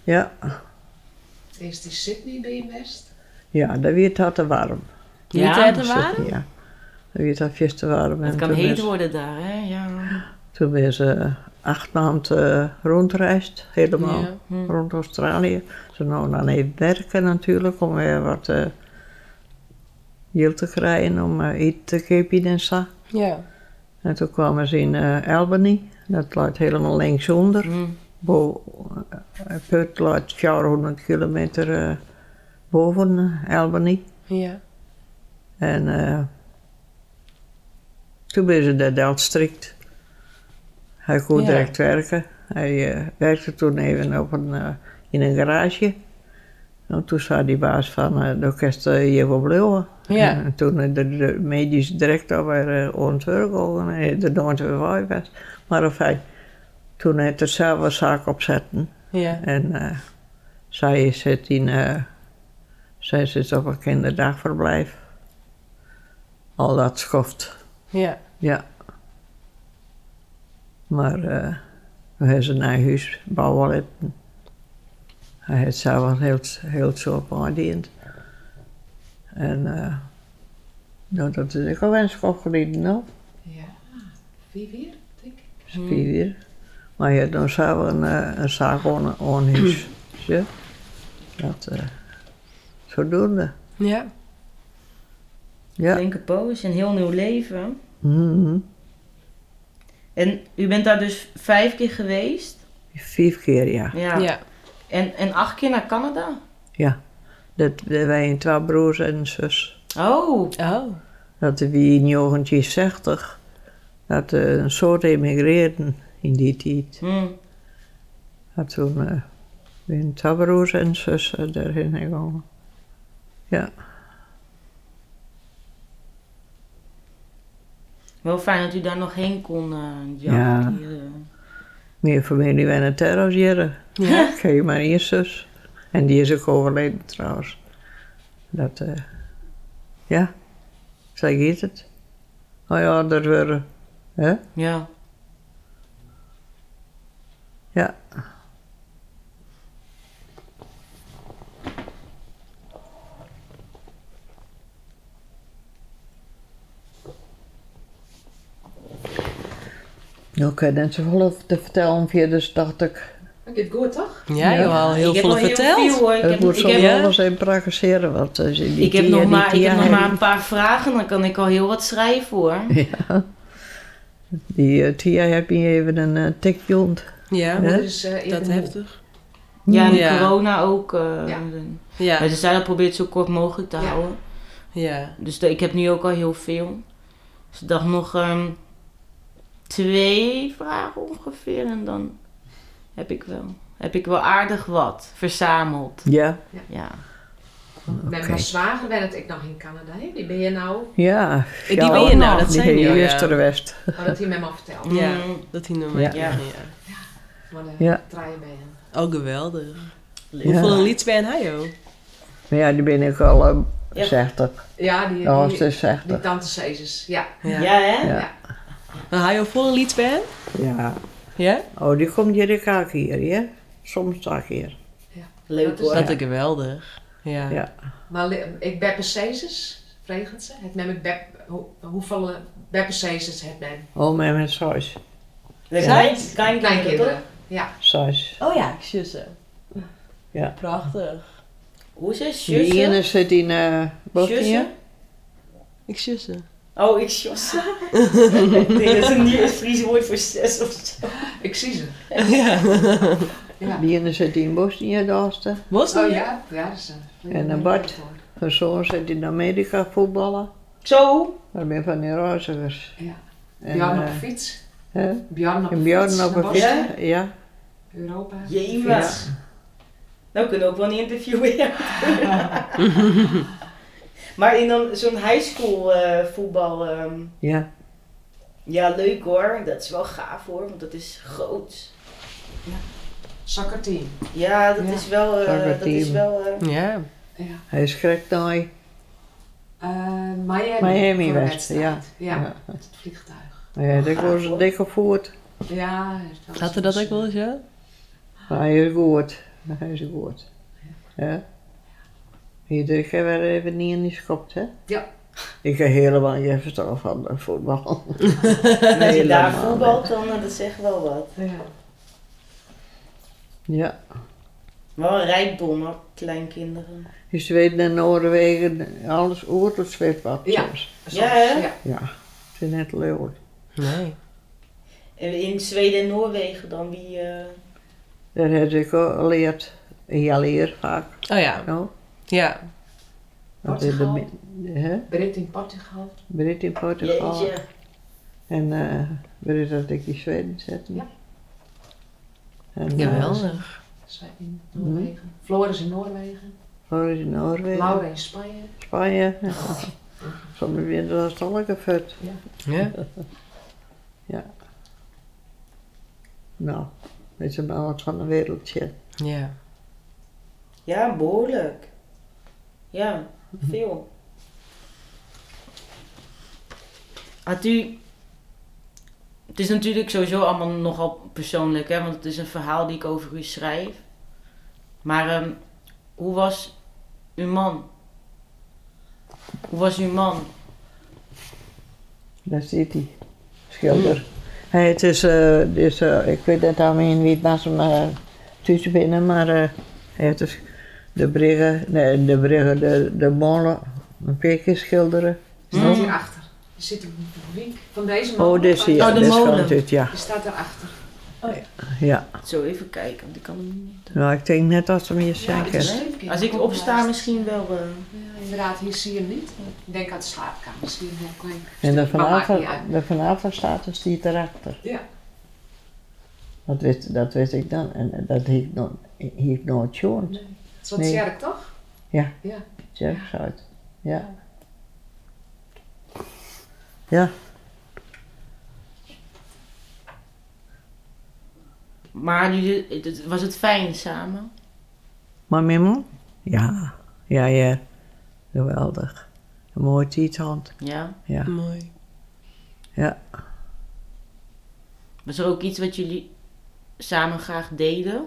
Speaker 4: Ja,
Speaker 5: Eerst in Sydney ben je best.
Speaker 4: ja, dat werd het te warm.
Speaker 8: Ja.
Speaker 3: Ja,
Speaker 8: tijd er
Speaker 4: Zitten,
Speaker 8: waren?
Speaker 4: Ja, dat werd het veel te warm.
Speaker 3: Het
Speaker 4: en
Speaker 3: kan
Speaker 4: toen
Speaker 3: heet
Speaker 4: is-
Speaker 3: worden daar, hè? Ja.
Speaker 4: Toen ben ze acht maanden eh, rondreisd, helemaal
Speaker 8: Ja.
Speaker 3: Hm.
Speaker 4: rond Australië. Ze nou dan even werken natuurlijk om weer wat eh geld te krijgen om eh, eten te kopen en zo.
Speaker 8: Ja.
Speaker 4: En toen kwamen ze in eh, Albany, dat ligt helemaal linksonder.
Speaker 3: Hm.
Speaker 8: Mm.
Speaker 4: Bo, eh, Perth ligt 400 kilometer eh, boven eh, Albany.
Speaker 8: Ja.
Speaker 4: En eh, toen ben ze naar Delft strikt. Hij kon
Speaker 8: Ja.
Speaker 4: direct werken. Hij eh, werkte toen even op een, eh, in een garage. En toen zei die baas van eh, het orkest eh, hier op Leeuwen.
Speaker 8: Ja.
Speaker 4: En toen eh, de, de medische directeur weer uh, ontwerpen en de nooit weer vijf was. Maar of hij, toen hij er zelf een zaak opzetten.
Speaker 8: Ja.
Speaker 4: En eh, zij zit in, eh, zij zit op een kinderdagverblijf. Al dat schoft,
Speaker 8: Ja.
Speaker 4: ja. Maar eh, hij heeft een eigen huis bouwen laten. Hij heeft zelf een heel, heel soort aangediend. En eh, nou, dat is ook al een schoft geleden, nou.
Speaker 5: Ja, vier weer, denk ik.
Speaker 4: spier. Maar ja, dan zou een, eh, een zaag on, onhuis. Zie je? Dat, eh zodoende.
Speaker 8: Ja.
Speaker 4: Ja.
Speaker 3: Flinke poos, een heel nieuw leven.
Speaker 4: Mhm.
Speaker 3: En u bent daar dus vijf keer geweest.
Speaker 4: Vijf keer, ja.
Speaker 3: Ja.
Speaker 8: Ja.
Speaker 3: En, en acht keer naar Canada.
Speaker 4: Dat, dat wij in twee broers en een zus.
Speaker 3: Oh,
Speaker 8: Oh.
Speaker 4: Dat wie in jongentje 60, dat eh,
Speaker 3: Hmm.
Speaker 4: een soort emigreerden in die tijd.
Speaker 3: hm.
Speaker 4: Dat toen, eh, Mijn tabroers en eh, zussen daarin gekomen. Ja,
Speaker 3: Wel fijn dat u daar nog heen kon, eh Jaap.
Speaker 4: Ja.
Speaker 3: Hier, eh.
Speaker 4: meer familie bij een terrasjeren. Ja. Ik heb maar één zus. En die is ook overleden trouwens. Dat, eh, ja, zeg je het? Oh ja, dat waren, hè?
Speaker 3: ja.
Speaker 4: Ja. Oké, dan is er wel over te vertellen, via dus dacht ik,
Speaker 5: Dit goed toch?
Speaker 8: Ja, je hebt al Oh, heel
Speaker 3: ik heb
Speaker 8: veel
Speaker 3: al Heel
Speaker 8: verteld.
Speaker 3: veel, hoor. Ik
Speaker 4: het
Speaker 3: heb,
Speaker 4: moet
Speaker 3: ik
Speaker 4: zo
Speaker 3: heb,
Speaker 8: ja.
Speaker 4: alles in praktiseren, want eh, die
Speaker 3: ik heb
Speaker 4: die
Speaker 3: nog
Speaker 4: en die
Speaker 3: maar, ik
Speaker 4: die
Speaker 3: heb nog
Speaker 4: en-
Speaker 3: maar een paar vragen, dan kan ik al heel wat schrijven hoor.
Speaker 4: Ja. Die eh, Tia heb je even een eh, tikje ont.
Speaker 8: Ja,
Speaker 4: Hè?
Speaker 5: Dus, eh, eerder
Speaker 8: dat
Speaker 5: moe.
Speaker 8: heftig.
Speaker 3: Ja, en
Speaker 8: Ja.
Speaker 3: corona ook. eh
Speaker 5: Ja.
Speaker 3: Maar
Speaker 8: Ja,
Speaker 3: ze zijn dat probeert zo kort mogelijk te
Speaker 5: Ja.
Speaker 3: houden.
Speaker 8: ja.
Speaker 3: Dus de- ik heb nu ook al heel veel. Dus ik dacht nog ehm, twee vragen ongeveer. En dan heb ik wel, heb ik wel aardig wat verzameld.
Speaker 4: Ja.
Speaker 3: Ja.
Speaker 5: Met mijn zwager ben het ik nog in Canada. hè. Die ben je nou,
Speaker 4: Ja.
Speaker 8: Die ben je nou, dat
Speaker 4: Die
Speaker 8: zijn
Speaker 4: heb je
Speaker 8: jou,
Speaker 4: juist
Speaker 8: ja.
Speaker 4: er west.
Speaker 5: had het hier met me al verteld.
Speaker 8: Ja,
Speaker 3: Mm.
Speaker 8: dat hij nog
Speaker 4: Ja.
Speaker 8: mee ja.
Speaker 5: Maar de
Speaker 4: Ja.
Speaker 5: trein ben je.
Speaker 8: Oh, geweldig.
Speaker 4: Ja.
Speaker 8: Hoeveel lieds ben hij, joh?
Speaker 4: Maar ja, die ben ik al eh,
Speaker 3: Ja.
Speaker 4: 60.
Speaker 5: Ja, die,
Speaker 4: Ja,
Speaker 5: die,
Speaker 4: ze is
Speaker 5: die
Speaker 4: 60.
Speaker 5: tante Cezes. Ja.
Speaker 8: Ja.
Speaker 3: Ja, hè?
Speaker 4: Ja.
Speaker 8: Maar hij al vol een liedband?
Speaker 4: Ja.
Speaker 8: Ja?
Speaker 4: Oh, die komt hier ik ook hier, ja? Soms zag hier.
Speaker 3: Leuk
Speaker 5: Dat
Speaker 3: hoor.
Speaker 5: is-
Speaker 8: Dat is geweldig. Ja.
Speaker 4: Ja.
Speaker 5: Maar li- ik beppe Cezes, vregen ze. Het met mijn bep, hoe, hoeveel eh, beppe Cezes het met
Speaker 4: Oh, met mijn saus.
Speaker 3: Leuk.
Speaker 8: Ja.
Speaker 3: Klein- Klein
Speaker 5: kleinkinderen.
Speaker 3: kinderen.
Speaker 5: Ja.
Speaker 4: Saus.
Speaker 8: Oh ja, zussen.
Speaker 4: Ja.
Speaker 8: Prachtig.
Speaker 3: Hoe is het?
Speaker 4: Die
Speaker 3: Zussen?
Speaker 4: ene zit in eh Bosnië.
Speaker 3: Zussen?
Speaker 8: Ik zussen.
Speaker 3: Oh, ik josse. ik denk dat is een nieuw Fries woord voor zes of zo.
Speaker 5: Ik zie ze.
Speaker 8: ja.
Speaker 5: Ja.
Speaker 4: Die ene zit in Bosnië, daarste.
Speaker 8: Was dat?
Speaker 5: Oh ja, ja, dat is een.
Speaker 4: En een Bart. Mijn zoon zit in Amerika voetballen.
Speaker 3: Zo?
Speaker 4: Daar ben ik van die reizigers.
Speaker 5: Ja.
Speaker 4: En,
Speaker 5: Bjorn op
Speaker 4: eh,
Speaker 5: een fiets.
Speaker 4: hè?
Speaker 5: Bjorn op
Speaker 4: En
Speaker 5: een
Speaker 4: Bjorn
Speaker 5: fiets.
Speaker 4: op een
Speaker 5: naar
Speaker 4: fiets.
Speaker 5: Bosnië,
Speaker 4: Ja. ja.
Speaker 5: Europa.
Speaker 3: Jemig.
Speaker 5: Fiets.
Speaker 3: Nou kunnen we ook wel een interview weer. maar in dan zo'n high school eh, voetbal. ehm, ja, leuk hoor. Dat is wel gaaf hoor, want dat is groot.
Speaker 5: Soccerteam.
Speaker 3: Ja, dat
Speaker 5: Ja.
Speaker 3: is wel. eh,
Speaker 4: Soccer
Speaker 3: dat is
Speaker 4: team.
Speaker 3: wel eh,
Speaker 8: Ja.
Speaker 5: Ja.
Speaker 4: Hij schrikt nou.
Speaker 5: Eh, Miami.
Speaker 4: Miami
Speaker 5: voor de
Speaker 4: West,
Speaker 5: wedstrijd.
Speaker 4: ja.
Speaker 5: Ja,
Speaker 4: Ja.
Speaker 5: met het vliegtuig.
Speaker 4: Ja, dat was een dikke voet.
Speaker 5: Ja, was
Speaker 8: Had er dat ook wel eens, ja?
Speaker 4: Maar hij is goed. Hij is goed. Ja. Iedere keer werd er even niet in die schopt, hè?
Speaker 5: Ja.
Speaker 4: Ik heb helemaal geen verstand van de voetbal.
Speaker 3: als je daar
Speaker 4: Helemaal,
Speaker 3: voetbalt, dan eh, dat zegt wel wat.
Speaker 5: Ja.
Speaker 4: Ja.
Speaker 3: Wel een rijkdom hoor, kleinkinderen.
Speaker 4: In Zweden en Noorwegen, alles oort het zwembad.
Speaker 5: Ja.
Speaker 4: soms.
Speaker 5: Soms,
Speaker 3: Ja, hè?
Speaker 5: ja.
Speaker 4: Ja. Het is net leeuwen.
Speaker 8: Nee.
Speaker 3: En in Zweden en Noorwegen dan wie. eh,
Speaker 4: Daar heb ik ook geleerd. Ja, leer vaak.
Speaker 8: Oh ja.
Speaker 4: Nou,
Speaker 8: Ja.
Speaker 4: dat is de,
Speaker 5: Portugal.
Speaker 4: min- hè?
Speaker 5: Brit in Portugal.
Speaker 4: Brit in Portugal.
Speaker 3: jeetje.
Speaker 4: En eh Brit dat ik in Zweden zetten.
Speaker 5: Ja.
Speaker 4: En, eh,
Speaker 8: Geweldig.
Speaker 5: Zij in
Speaker 4: Mhm.
Speaker 5: Noorwegen. Floris in Noorwegen.
Speaker 4: Floris in Noorwegen,
Speaker 5: Laura in Spanje.
Speaker 4: Mhm. Spanje. Ja. Soms weer dat is toch lekker vet.
Speaker 8: Ja.
Speaker 4: Nou, dat is maar wat van een wereldje.
Speaker 8: Ja.
Speaker 3: Ja, behoorlijk. Ja, veel. Had u... Het is natuurlijk sowieso allemaal nogal persoonlijk, hè? want het is een verhaal die ik over u schrijf. Maar ehm, hoe was uw man? Hoe was uw man?
Speaker 4: Daar zit hij, schilder.
Speaker 3: Hmm.
Speaker 4: Hey, het is, eh, het is eh, ik weet net aan wie het naast hem eh, tussen binnen, maar eh, het is de briggen, nee, de briggen, de, de molen, een pikje schilderen.
Speaker 5: Die staat hierachter. Er zit een wiek van deze man.
Speaker 4: Oh, dit is hier,
Speaker 3: Oh, de
Speaker 4: dit is gewoon
Speaker 3: molen.
Speaker 4: dit, ja.
Speaker 5: Die staat daarachter.
Speaker 4: ja.
Speaker 3: Zo even kijken, want ik kan hem niet...
Speaker 4: Nou, ik denk net dat ze me hier zijn.
Speaker 5: dit
Speaker 3: dus
Speaker 4: hè.
Speaker 5: is een stukje.
Speaker 3: Als ik opsta misschien wel... eh,
Speaker 5: Ja, inderdaad, hier zie je hem niet. Ik denk aan de slaapkamer. Zie je hem heel klein.
Speaker 4: En de
Speaker 5: Maar maakt niet uit.
Speaker 4: vanavond, de vanavond staat dus die erachter.
Speaker 5: Ja.
Speaker 4: Dat wist, dat wist ik dan. En eh, dat hield no- hield nooit gehoord.
Speaker 5: Het is wat
Speaker 4: Nee.
Speaker 5: sterk, toch?
Speaker 4: Ja.
Speaker 5: Ja.
Speaker 4: Jerks uit. Ja. Ja.
Speaker 3: Maar jullie- het- het- was het fijn samen?
Speaker 4: Maar mijn man? Ja. Ja, ja. Geweldig. Een mooie tiethand.
Speaker 3: Ja.
Speaker 4: Ja.
Speaker 8: Mooi.
Speaker 4: Ja.
Speaker 3: Was er ook iets wat jullie samen graag deden?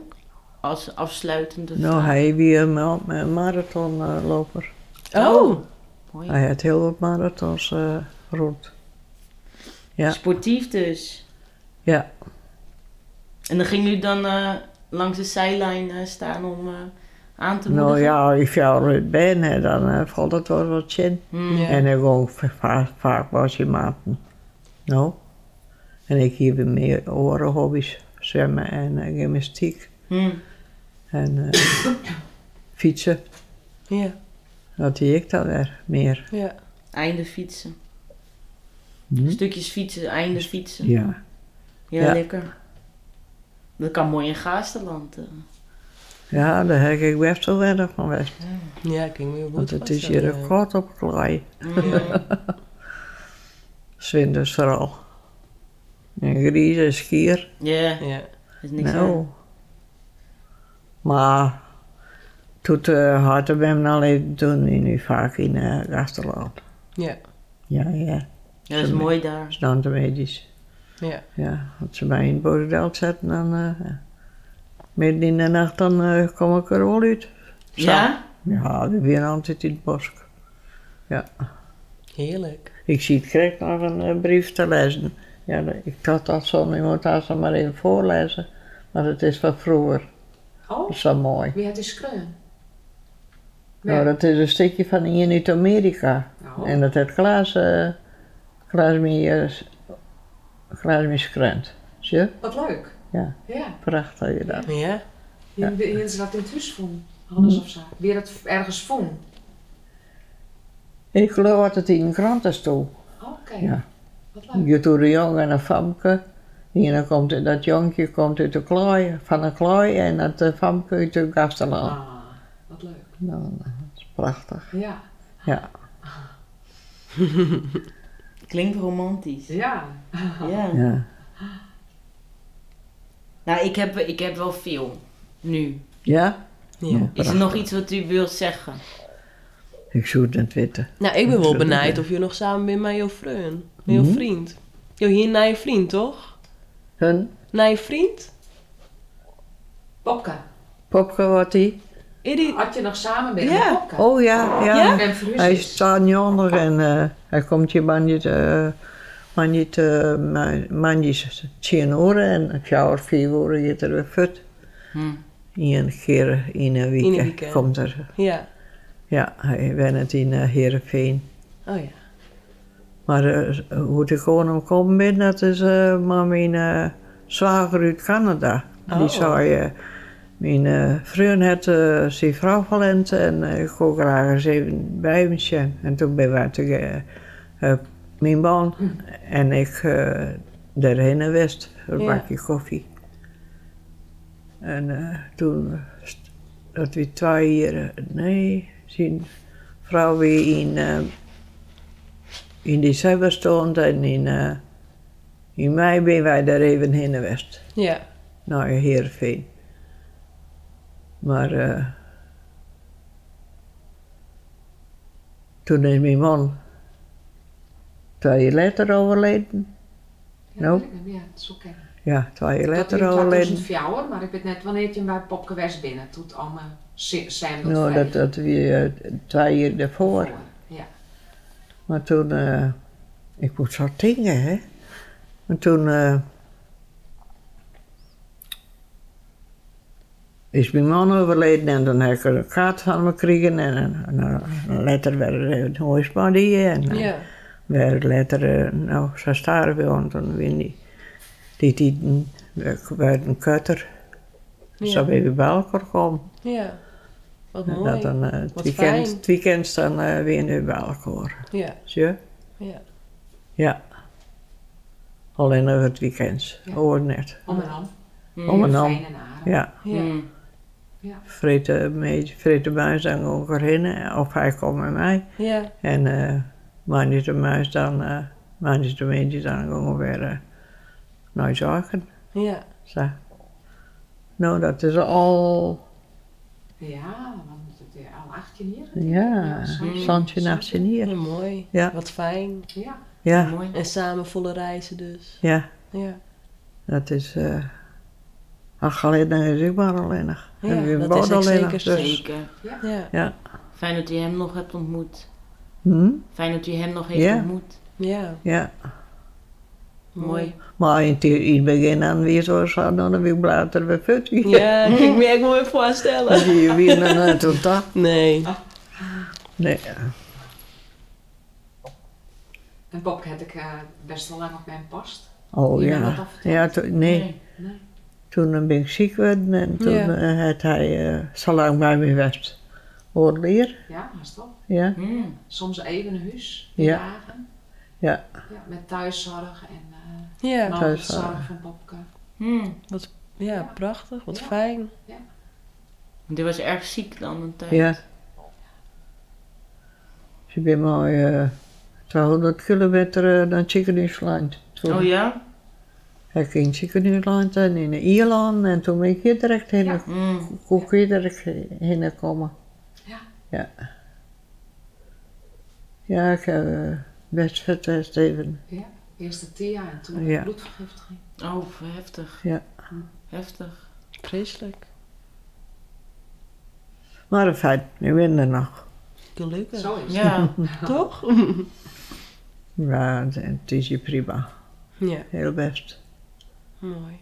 Speaker 3: Als afsluitende
Speaker 4: Nou,
Speaker 3: vraag?
Speaker 4: hij wie een ma- een marathonloper.
Speaker 3: Oh! Mooi.
Speaker 4: Hij had heel wat marathons eh, rond. ja.
Speaker 3: Sportief dus.
Speaker 4: Ja.
Speaker 3: En dan ging jullie dan eh, langs de zijlijn eh, staan om eh, aan te moedigen?
Speaker 4: Nou ja, als je al uit bent, hè, dan eh, valt het wel wat zin.
Speaker 3: Hmm.
Speaker 8: Ja.
Speaker 4: En dan gewoon va- vaak, vaak was je maten. Nou. En ik heb meer orenhobby's. Zwemmen en eh, gymnastiek.
Speaker 3: Hmm.
Speaker 4: En eh, fietsen.
Speaker 8: Ja,
Speaker 4: Dat deed ik dan weer meer.
Speaker 8: ja.
Speaker 3: Einde fietsen.
Speaker 4: Hm?
Speaker 3: Stukjes fietsen, einde fietsen.
Speaker 4: Ja.
Speaker 3: Ja,
Speaker 4: Ja.
Speaker 3: lekker. Dat kan mooi in Gaasterland. eh.
Speaker 4: Ja, daar heb ik best wel weinig van weg.
Speaker 8: Ja, ik ging weer
Speaker 4: Want
Speaker 8: goed
Speaker 4: het
Speaker 8: vast
Speaker 4: is hier
Speaker 8: aan,
Speaker 4: ook
Speaker 8: eh,
Speaker 4: kort op klei.
Speaker 3: Hmm.
Speaker 4: Zwinders vooral. En Gries en Schier.
Speaker 3: Ja,
Speaker 8: Ja.
Speaker 3: dat is niks aan.
Speaker 4: Nou. Maar toen eh hadden we hem alleen doen we nu vaak in eh Gasterland.
Speaker 8: Ja.
Speaker 4: Ja, ja.
Speaker 3: Ja, dat is mooi daar.
Speaker 4: Dus dan de medisch.
Speaker 8: Ja.
Speaker 4: Ja, als ze mij in het Bozendeld zetten, dan eh, midden in de nacht dan eh, kom ik er wel uit.
Speaker 3: Ja?
Speaker 4: Ja, we zijn altijd in het bos.
Speaker 8: Heerlijk.
Speaker 4: Ik zie het krijg nog een eh, brief te lezen. Ja, dat- ik dacht dat zo, je moet daar zo maar in voorlezen. Maar het is van vroeger,
Speaker 5: Oh,
Speaker 4: dat is zo mooi.
Speaker 5: wie had die skreun?
Speaker 4: Nou, dat is een stukje van hier uit Amerika.
Speaker 5: Oh.
Speaker 4: En dat heeft Klaas, eh Klaas meer geskrend. Zie je?
Speaker 5: Wat leuk.
Speaker 4: Ja.
Speaker 5: Ja.
Speaker 4: Prachtig je dat.
Speaker 8: Ja.
Speaker 5: Hier hier ze dat in het huis vonden. Anders of zo. Weer dat ergens vonden.
Speaker 4: Ik geloof dat het in een krant is toe.
Speaker 5: Oké.
Speaker 4: Ja.
Speaker 5: Oh, Wat leuk.
Speaker 4: Je doet een jong en een famke. En dan komt, dat jonkje komt uit de klooi, van een klooi en dat eh, famke uit de gastenland.
Speaker 5: Ah, wat leuk.
Speaker 4: Nou, dat is prachtig.
Speaker 5: Ja.
Speaker 4: Ja.
Speaker 3: Klinkt romantisch.
Speaker 5: Ja.
Speaker 3: Ja.
Speaker 4: Ja.
Speaker 3: Nou, ik heb, ik heb wel veel. Nu.
Speaker 4: Ja?
Speaker 8: ja.
Speaker 3: Is er nog iets wat u wilt zeggen?
Speaker 4: Ik zoet het weten.
Speaker 8: Nou, ik ben wel
Speaker 4: Zullen we
Speaker 8: benijd
Speaker 4: doen?
Speaker 8: of je nog samen bent met jouw vriend. Met jouw
Speaker 4: Mhm.
Speaker 8: vriend. Jo, hier naar je vriend, toch?
Speaker 4: Hun
Speaker 8: Naar je vriend?
Speaker 5: Popka.
Speaker 4: popke wat die?
Speaker 8: Is die...
Speaker 5: Had je nog samen bent
Speaker 8: Ja.
Speaker 5: met Popka?
Speaker 4: Oh ja, ja.
Speaker 8: Ja?
Speaker 5: Ik ben verhuisd.
Speaker 4: Hij staat niet onder en eh, hij komt je man niet, eh, man niet, eh, ma- man niet tien uur en ik zou er vier uur je er weer fut.
Speaker 3: Hm.
Speaker 4: Eén keer Hmm. in een week,
Speaker 8: In een weekend.
Speaker 4: komt er.
Speaker 8: Ja.
Speaker 4: Ja, hij went het in eh Heerenveen.
Speaker 8: Oh ja.
Speaker 4: Maar eh, hoe ik gewoon omkomen ben, dat is eh maar mijn eh, zwager uit Canada.
Speaker 8: Oh.
Speaker 4: Die zei, eh, mijn eh, vriend had eh, zijn vrouw verlend en eh, ik wou graag eens even bij hem zijn. En toen ben ik tegen eh, mijn man en ik eh daarheen geweest, een
Speaker 8: Ja.
Speaker 4: bakje koffie. En eh, toen, st- dat we twee hier, eh, nee, zien vrouw weer in, eh, in december stond en in, eh, in mei ben wij daar even heen geweest
Speaker 8: Ja.
Speaker 4: naar Heerenveen. Maar eh, toen is mijn man twee jaar later overleden.
Speaker 5: Ja,
Speaker 4: Nou.
Speaker 5: dat weet ik niet. Ja, het is oké.
Speaker 4: Ja, twee jaar
Speaker 5: Dat in
Speaker 4: later overleden.
Speaker 5: 2004, maar ik weet net wanneer je bij Popke West binnen. Toen allemaal si- zijn dat
Speaker 4: Nou,
Speaker 5: vrij.
Speaker 4: dat, dat we eh, twee jaar daarvoor.
Speaker 5: Ja.
Speaker 4: Maar toen, eh, ik moest zo dingen, hè. Maar toen eh, is mijn man overleden en toen heb ik een kaart van me gekregen en een, een, een letter werd er een huisbody en eh,
Speaker 8: Ja.
Speaker 4: werd letter, eh, nou, ze staren we want toen weer niet. Die tieten werd- werd een kutter.
Speaker 8: Ja.
Speaker 4: Zo ben je bij elkaar gekomen.
Speaker 8: Ja. Wat
Speaker 4: En dat
Speaker 8: mooi.
Speaker 4: dan, eh, het
Speaker 8: Wat
Speaker 4: weekend,
Speaker 8: fijn.
Speaker 4: het weekend dan eh, weer nu bij elkaar.
Speaker 8: Ja.
Speaker 4: Zie je?
Speaker 8: Ja.
Speaker 4: Ja. Alleen nog het weekend.
Speaker 5: Ja.
Speaker 4: Hoor net.
Speaker 5: Om en om.
Speaker 3: Mm.
Speaker 4: Om en om.
Speaker 5: Fijn en aardig.
Speaker 4: Ja,
Speaker 5: Ja.
Speaker 3: Mm.
Speaker 4: vreet de, meid- vreet de muis dan ook erin. Of hij komt met mij.
Speaker 8: Ja.
Speaker 4: En eh, maar niet de muis dan, eh, maar niet de meisje dan gewoon weer eh, naar zorgen.
Speaker 8: Ja.
Speaker 4: Zo. Nou, dat is al,
Speaker 5: Ja, want het eh, is al 18 jaar.
Speaker 4: ja,
Speaker 8: Mm.
Speaker 5: soms-
Speaker 4: zandje nacht en hier.
Speaker 8: Ja, mooi.
Speaker 4: Ja.
Speaker 8: Wat fijn.
Speaker 5: Ja,
Speaker 4: Ja,
Speaker 3: Mooi.
Speaker 8: En samen volle reizen dus.
Speaker 4: ja,
Speaker 8: Ja.
Speaker 4: dat is, eh ach, alleen dan is ik maar alleen nog.
Speaker 8: Ja,
Speaker 4: En wie
Speaker 8: dat
Speaker 4: wordt
Speaker 8: is echt
Speaker 4: alleen nog,
Speaker 8: zeker
Speaker 4: dus-
Speaker 3: Zeker.
Speaker 8: Ja.
Speaker 3: Fijn dat u hem nog hebt ontmoet.
Speaker 4: Hm?
Speaker 3: Fijn dat u hem nog heeft
Speaker 4: Ja.
Speaker 3: ontmoet.
Speaker 8: Ja.
Speaker 4: Ja,
Speaker 3: Mooi.
Speaker 4: maar in het, in het begin dan weer zo zo, dan weer later weer fut.
Speaker 8: Ja, ik merk me weer voorstellen.
Speaker 4: Die weer naar naar tot dat.
Speaker 8: Nee.
Speaker 4: Nee,
Speaker 5: en Bob had ik eh, best wel lang op mijn past.
Speaker 4: oh
Speaker 5: Je bent
Speaker 4: ja.
Speaker 5: dat al verteld.
Speaker 4: Ja, toen- nee.
Speaker 5: Nee.
Speaker 4: Toen ben ik ziek geworden en toen
Speaker 8: Ja.
Speaker 4: eh, had hij eh, zo lang bij me geweest. Oorleer,
Speaker 5: Ja, maar stop.
Speaker 4: ja.
Speaker 3: Mm.
Speaker 5: Soms even een huis.
Speaker 4: Ja.
Speaker 5: dagen.
Speaker 4: Ja.
Speaker 5: ja. Met thuiszorg en eh
Speaker 8: Ja.
Speaker 4: thuiszorg.
Speaker 5: mantelzorg van Bobke.
Speaker 3: Mm.
Speaker 8: Ja, prachtig. Wat
Speaker 5: Ja.
Speaker 8: fijn.
Speaker 3: Die was erg ziek dan een tijd.
Speaker 4: ja. Dus ik ben maar eh, 200 kilometer eh, naar Chickenhuisland. Toen
Speaker 3: Oh ja?
Speaker 4: heb ik in Chickenhuisland en in Ierland en toen ben ik hier direct heen,
Speaker 5: Ja.
Speaker 3: Mm.
Speaker 4: kon ik hier direct heen gekomen.
Speaker 5: Ja.
Speaker 4: Ja. Ja, ik heb eh, best vertest even.
Speaker 5: Eerst de Thea en toen
Speaker 4: Ja.
Speaker 5: bloedvergiftiging.
Speaker 3: Oh, heftig.
Speaker 4: Ja.
Speaker 3: Heftig.
Speaker 8: Vreselijk.
Speaker 4: Maar in feite, ik ben er nog.
Speaker 8: Gelukkig.
Speaker 5: Zo is het.
Speaker 3: Ja.
Speaker 8: Toch?
Speaker 4: Ja, het is hier prima.
Speaker 8: Ja.
Speaker 4: Heel best.
Speaker 8: Mooi.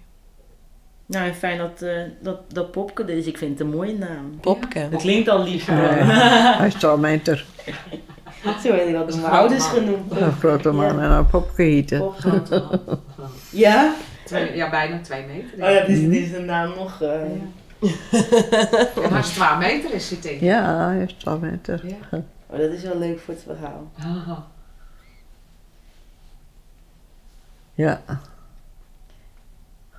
Speaker 3: nou, en fijn dat, eh, dat, dat Popke er is. Ik vind het een mooie naam.
Speaker 8: Popke.
Speaker 3: Het klinkt al lief.
Speaker 4: Eh, hij is al meter.
Speaker 3: Zo weet ik dat. Mijn ouders genoemd.
Speaker 4: Een grote man en een popke hieten.
Speaker 5: Groot man.
Speaker 3: Ja?
Speaker 5: Twee- Ja, bijna twee meter.
Speaker 3: Oh, dat is, dit is de naam nog... eh,
Speaker 5: En als het 12 meter is, zit ik.
Speaker 4: Ja, hij is al meter.
Speaker 5: Ja.
Speaker 3: Oh, dat is wel leuk voor het verhaal.
Speaker 5: Ah,
Speaker 4: Ja,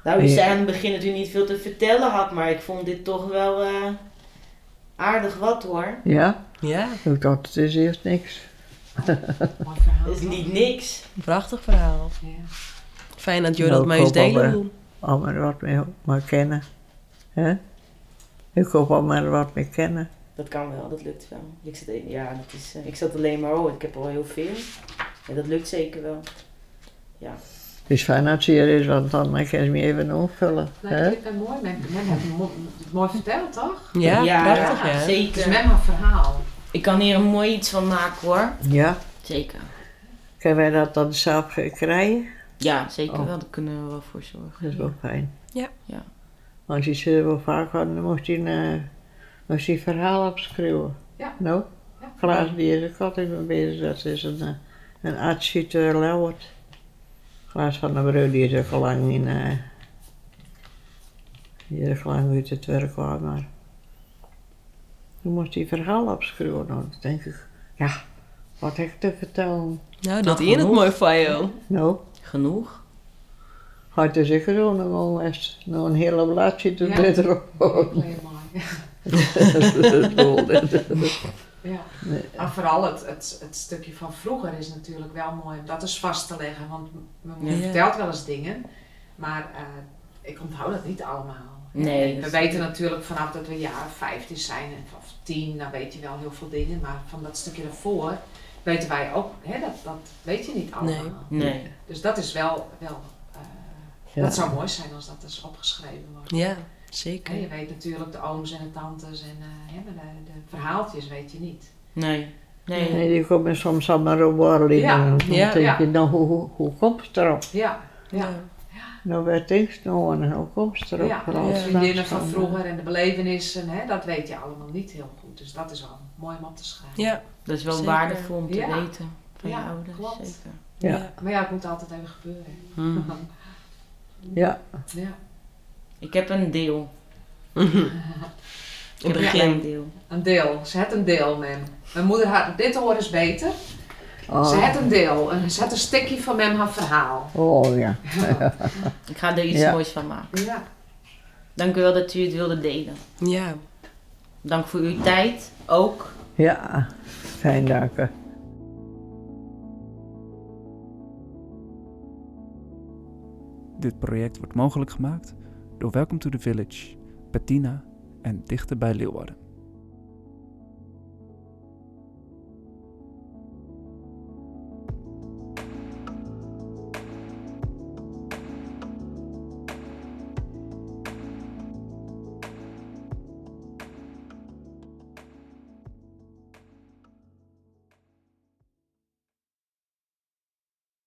Speaker 3: Nou, u
Speaker 4: Ja.
Speaker 3: zei aan het begin dat u niet veel te vertellen had, maar ik vond dit toch wel eh, aardig wat hoor.
Speaker 4: ja.
Speaker 8: Ja.
Speaker 4: Ik dacht, het is eerst niks.
Speaker 5: Mooi verhaal.
Speaker 3: Dat is niet niks.
Speaker 8: Prachtig verhaal.
Speaker 5: Ja.
Speaker 8: Fijn dat jullie
Speaker 4: Nou,
Speaker 8: dat
Speaker 4: ik
Speaker 8: mij eens
Speaker 4: hoop wel,
Speaker 8: delen
Speaker 4: eh,
Speaker 8: doen.
Speaker 4: Al maar wat mee maar kennen. hè? Ik hoop al maar wat mee kennen.
Speaker 3: Dat kan wel, dat lukt wel. Ik zat, e- ja, dat is, eh, ik zat alleen maar, oh, ik heb al heel veel. Ja, dat lukt zeker wel.
Speaker 4: Het is fijn als het hier is, want dan kan je me even opvullen.
Speaker 5: Nou,
Speaker 4: hè?
Speaker 5: ik vind het mooi. Men, men heeft het mo- het mooi verteld, toch?
Speaker 8: Ja, prachtig ja.
Speaker 5: Het is
Speaker 3: Zeker.
Speaker 5: met mijn verhaal.
Speaker 3: Ik kan hier een mooi iets van maken hoor.
Speaker 4: Ja.
Speaker 3: Zeker.
Speaker 4: Kunnen wij dat dan zelf krijgen?
Speaker 3: Ja, zeker
Speaker 4: Oh.
Speaker 3: wel. Daar kunnen we wel voor zorgen.
Speaker 4: Dat is wel fijn.
Speaker 8: Ja.
Speaker 3: Ja.
Speaker 4: Als je ze wel vaak had, dan moest hij, eh, moest hij verhaal opschrijven.
Speaker 5: Ja.
Speaker 4: Nou,
Speaker 5: Ja.
Speaker 4: Klaas die is ook altijd mee bezig. Dat is een, eh, een arts uit eh, Lauwert. Klaas van der Breu die is ook al lang in... eh die is ook lang uit het werk hoor, maar... Toen moest hij verhaal opschrijven. Nou, dan denk ik, ja, wat heb ik te vertellen?
Speaker 8: Nou, dat
Speaker 3: Nou,
Speaker 8: in het
Speaker 3: genoeg.
Speaker 8: mooi van jou.
Speaker 4: Nou,
Speaker 3: Genoeg.
Speaker 4: had hij zich gewoon nog wel eens nog een hele blaadje te
Speaker 5: Ja.
Speaker 4: erop.
Speaker 5: Heel mooi. Ja. En vooral het, het, het stukje van vroeger is natuurlijk wel mooi om dat eens vast te leggen. Want mijn moeder
Speaker 8: Ja.
Speaker 5: vertelt wel eens dingen, maar eh, ik onthoud dat niet allemaal.
Speaker 3: Nee,
Speaker 5: En
Speaker 3: dat
Speaker 5: we
Speaker 3: is-
Speaker 5: weten natuurlijk vanaf dat we jaren 15 zijn en- of 10, dan weet je wel heel veel dingen. Maar van dat stukje daarvoor weten wij ook, hè, dat, dat weet je niet allemaal.
Speaker 8: Nee.
Speaker 3: Nee.
Speaker 5: Dus dat is wel, wel eh,
Speaker 4: Ja.
Speaker 5: dat zou mooi zijn als dat eens opgeschreven wordt.
Speaker 8: Ja,
Speaker 5: Hè, je
Speaker 8: zeker.
Speaker 5: weet natuurlijk de ooms en de tantes en eh, hè, maar de, de verhaaltjes weet je niet.
Speaker 3: Nee. Nee.
Speaker 4: Nee, die komen soms allemaal op woorden.
Speaker 5: Ja,
Speaker 4: en dan
Speaker 8: ja,
Speaker 4: denk
Speaker 5: ja.
Speaker 4: je, nou, hoe, hoe, hoe komt het erop?
Speaker 5: Ja, ja.
Speaker 8: Ja.
Speaker 4: Nou, werd niks nou en hoe komt het erop?
Speaker 5: Ja,
Speaker 4: Vooral
Speaker 8: ja.
Speaker 5: de
Speaker 4: s'nachts
Speaker 5: vriendinnen van
Speaker 4: dan, eh,
Speaker 5: vroeger en de belevenissen, hè, dat weet je allemaal niet heel goed. Dus dat is al mooi om op te schrijven.
Speaker 8: Ja.
Speaker 3: Dat is wel
Speaker 8: Zeker.
Speaker 3: waardevol om te
Speaker 5: Ja.
Speaker 3: weten van
Speaker 5: Ja,
Speaker 3: je ouders.
Speaker 5: klopt.
Speaker 3: Zeker.
Speaker 4: Ja.
Speaker 8: Ja.
Speaker 5: Maar ja, het moet altijd even gebeuren.
Speaker 8: Hmm.
Speaker 4: Ja,
Speaker 5: Ja.
Speaker 3: Ik heb een deel. Ik
Speaker 8: In het
Speaker 3: heb een
Speaker 8: begin.
Speaker 3: klein deel.
Speaker 5: Een deel. Ze had een deel, mem. Mijn moeder had, dit hoor is beter. Ze
Speaker 4: oh,
Speaker 5: had een deel. En ze had een stukje van mem haar verhaal.
Speaker 4: oh ja.
Speaker 5: Ja.
Speaker 3: Ik ga er iets
Speaker 4: Ja.
Speaker 3: moois van maken.
Speaker 5: Ja.
Speaker 2: Dank u wel dat u het wilde delen.
Speaker 8: Ja.
Speaker 2: Dank voor uw tijd ook.
Speaker 4: Ja, fijn dank. hè.
Speaker 1: Dit project wordt mogelijk gemaakt door Welcome to the Village, Bettina en Dichter bij Leeuwarden.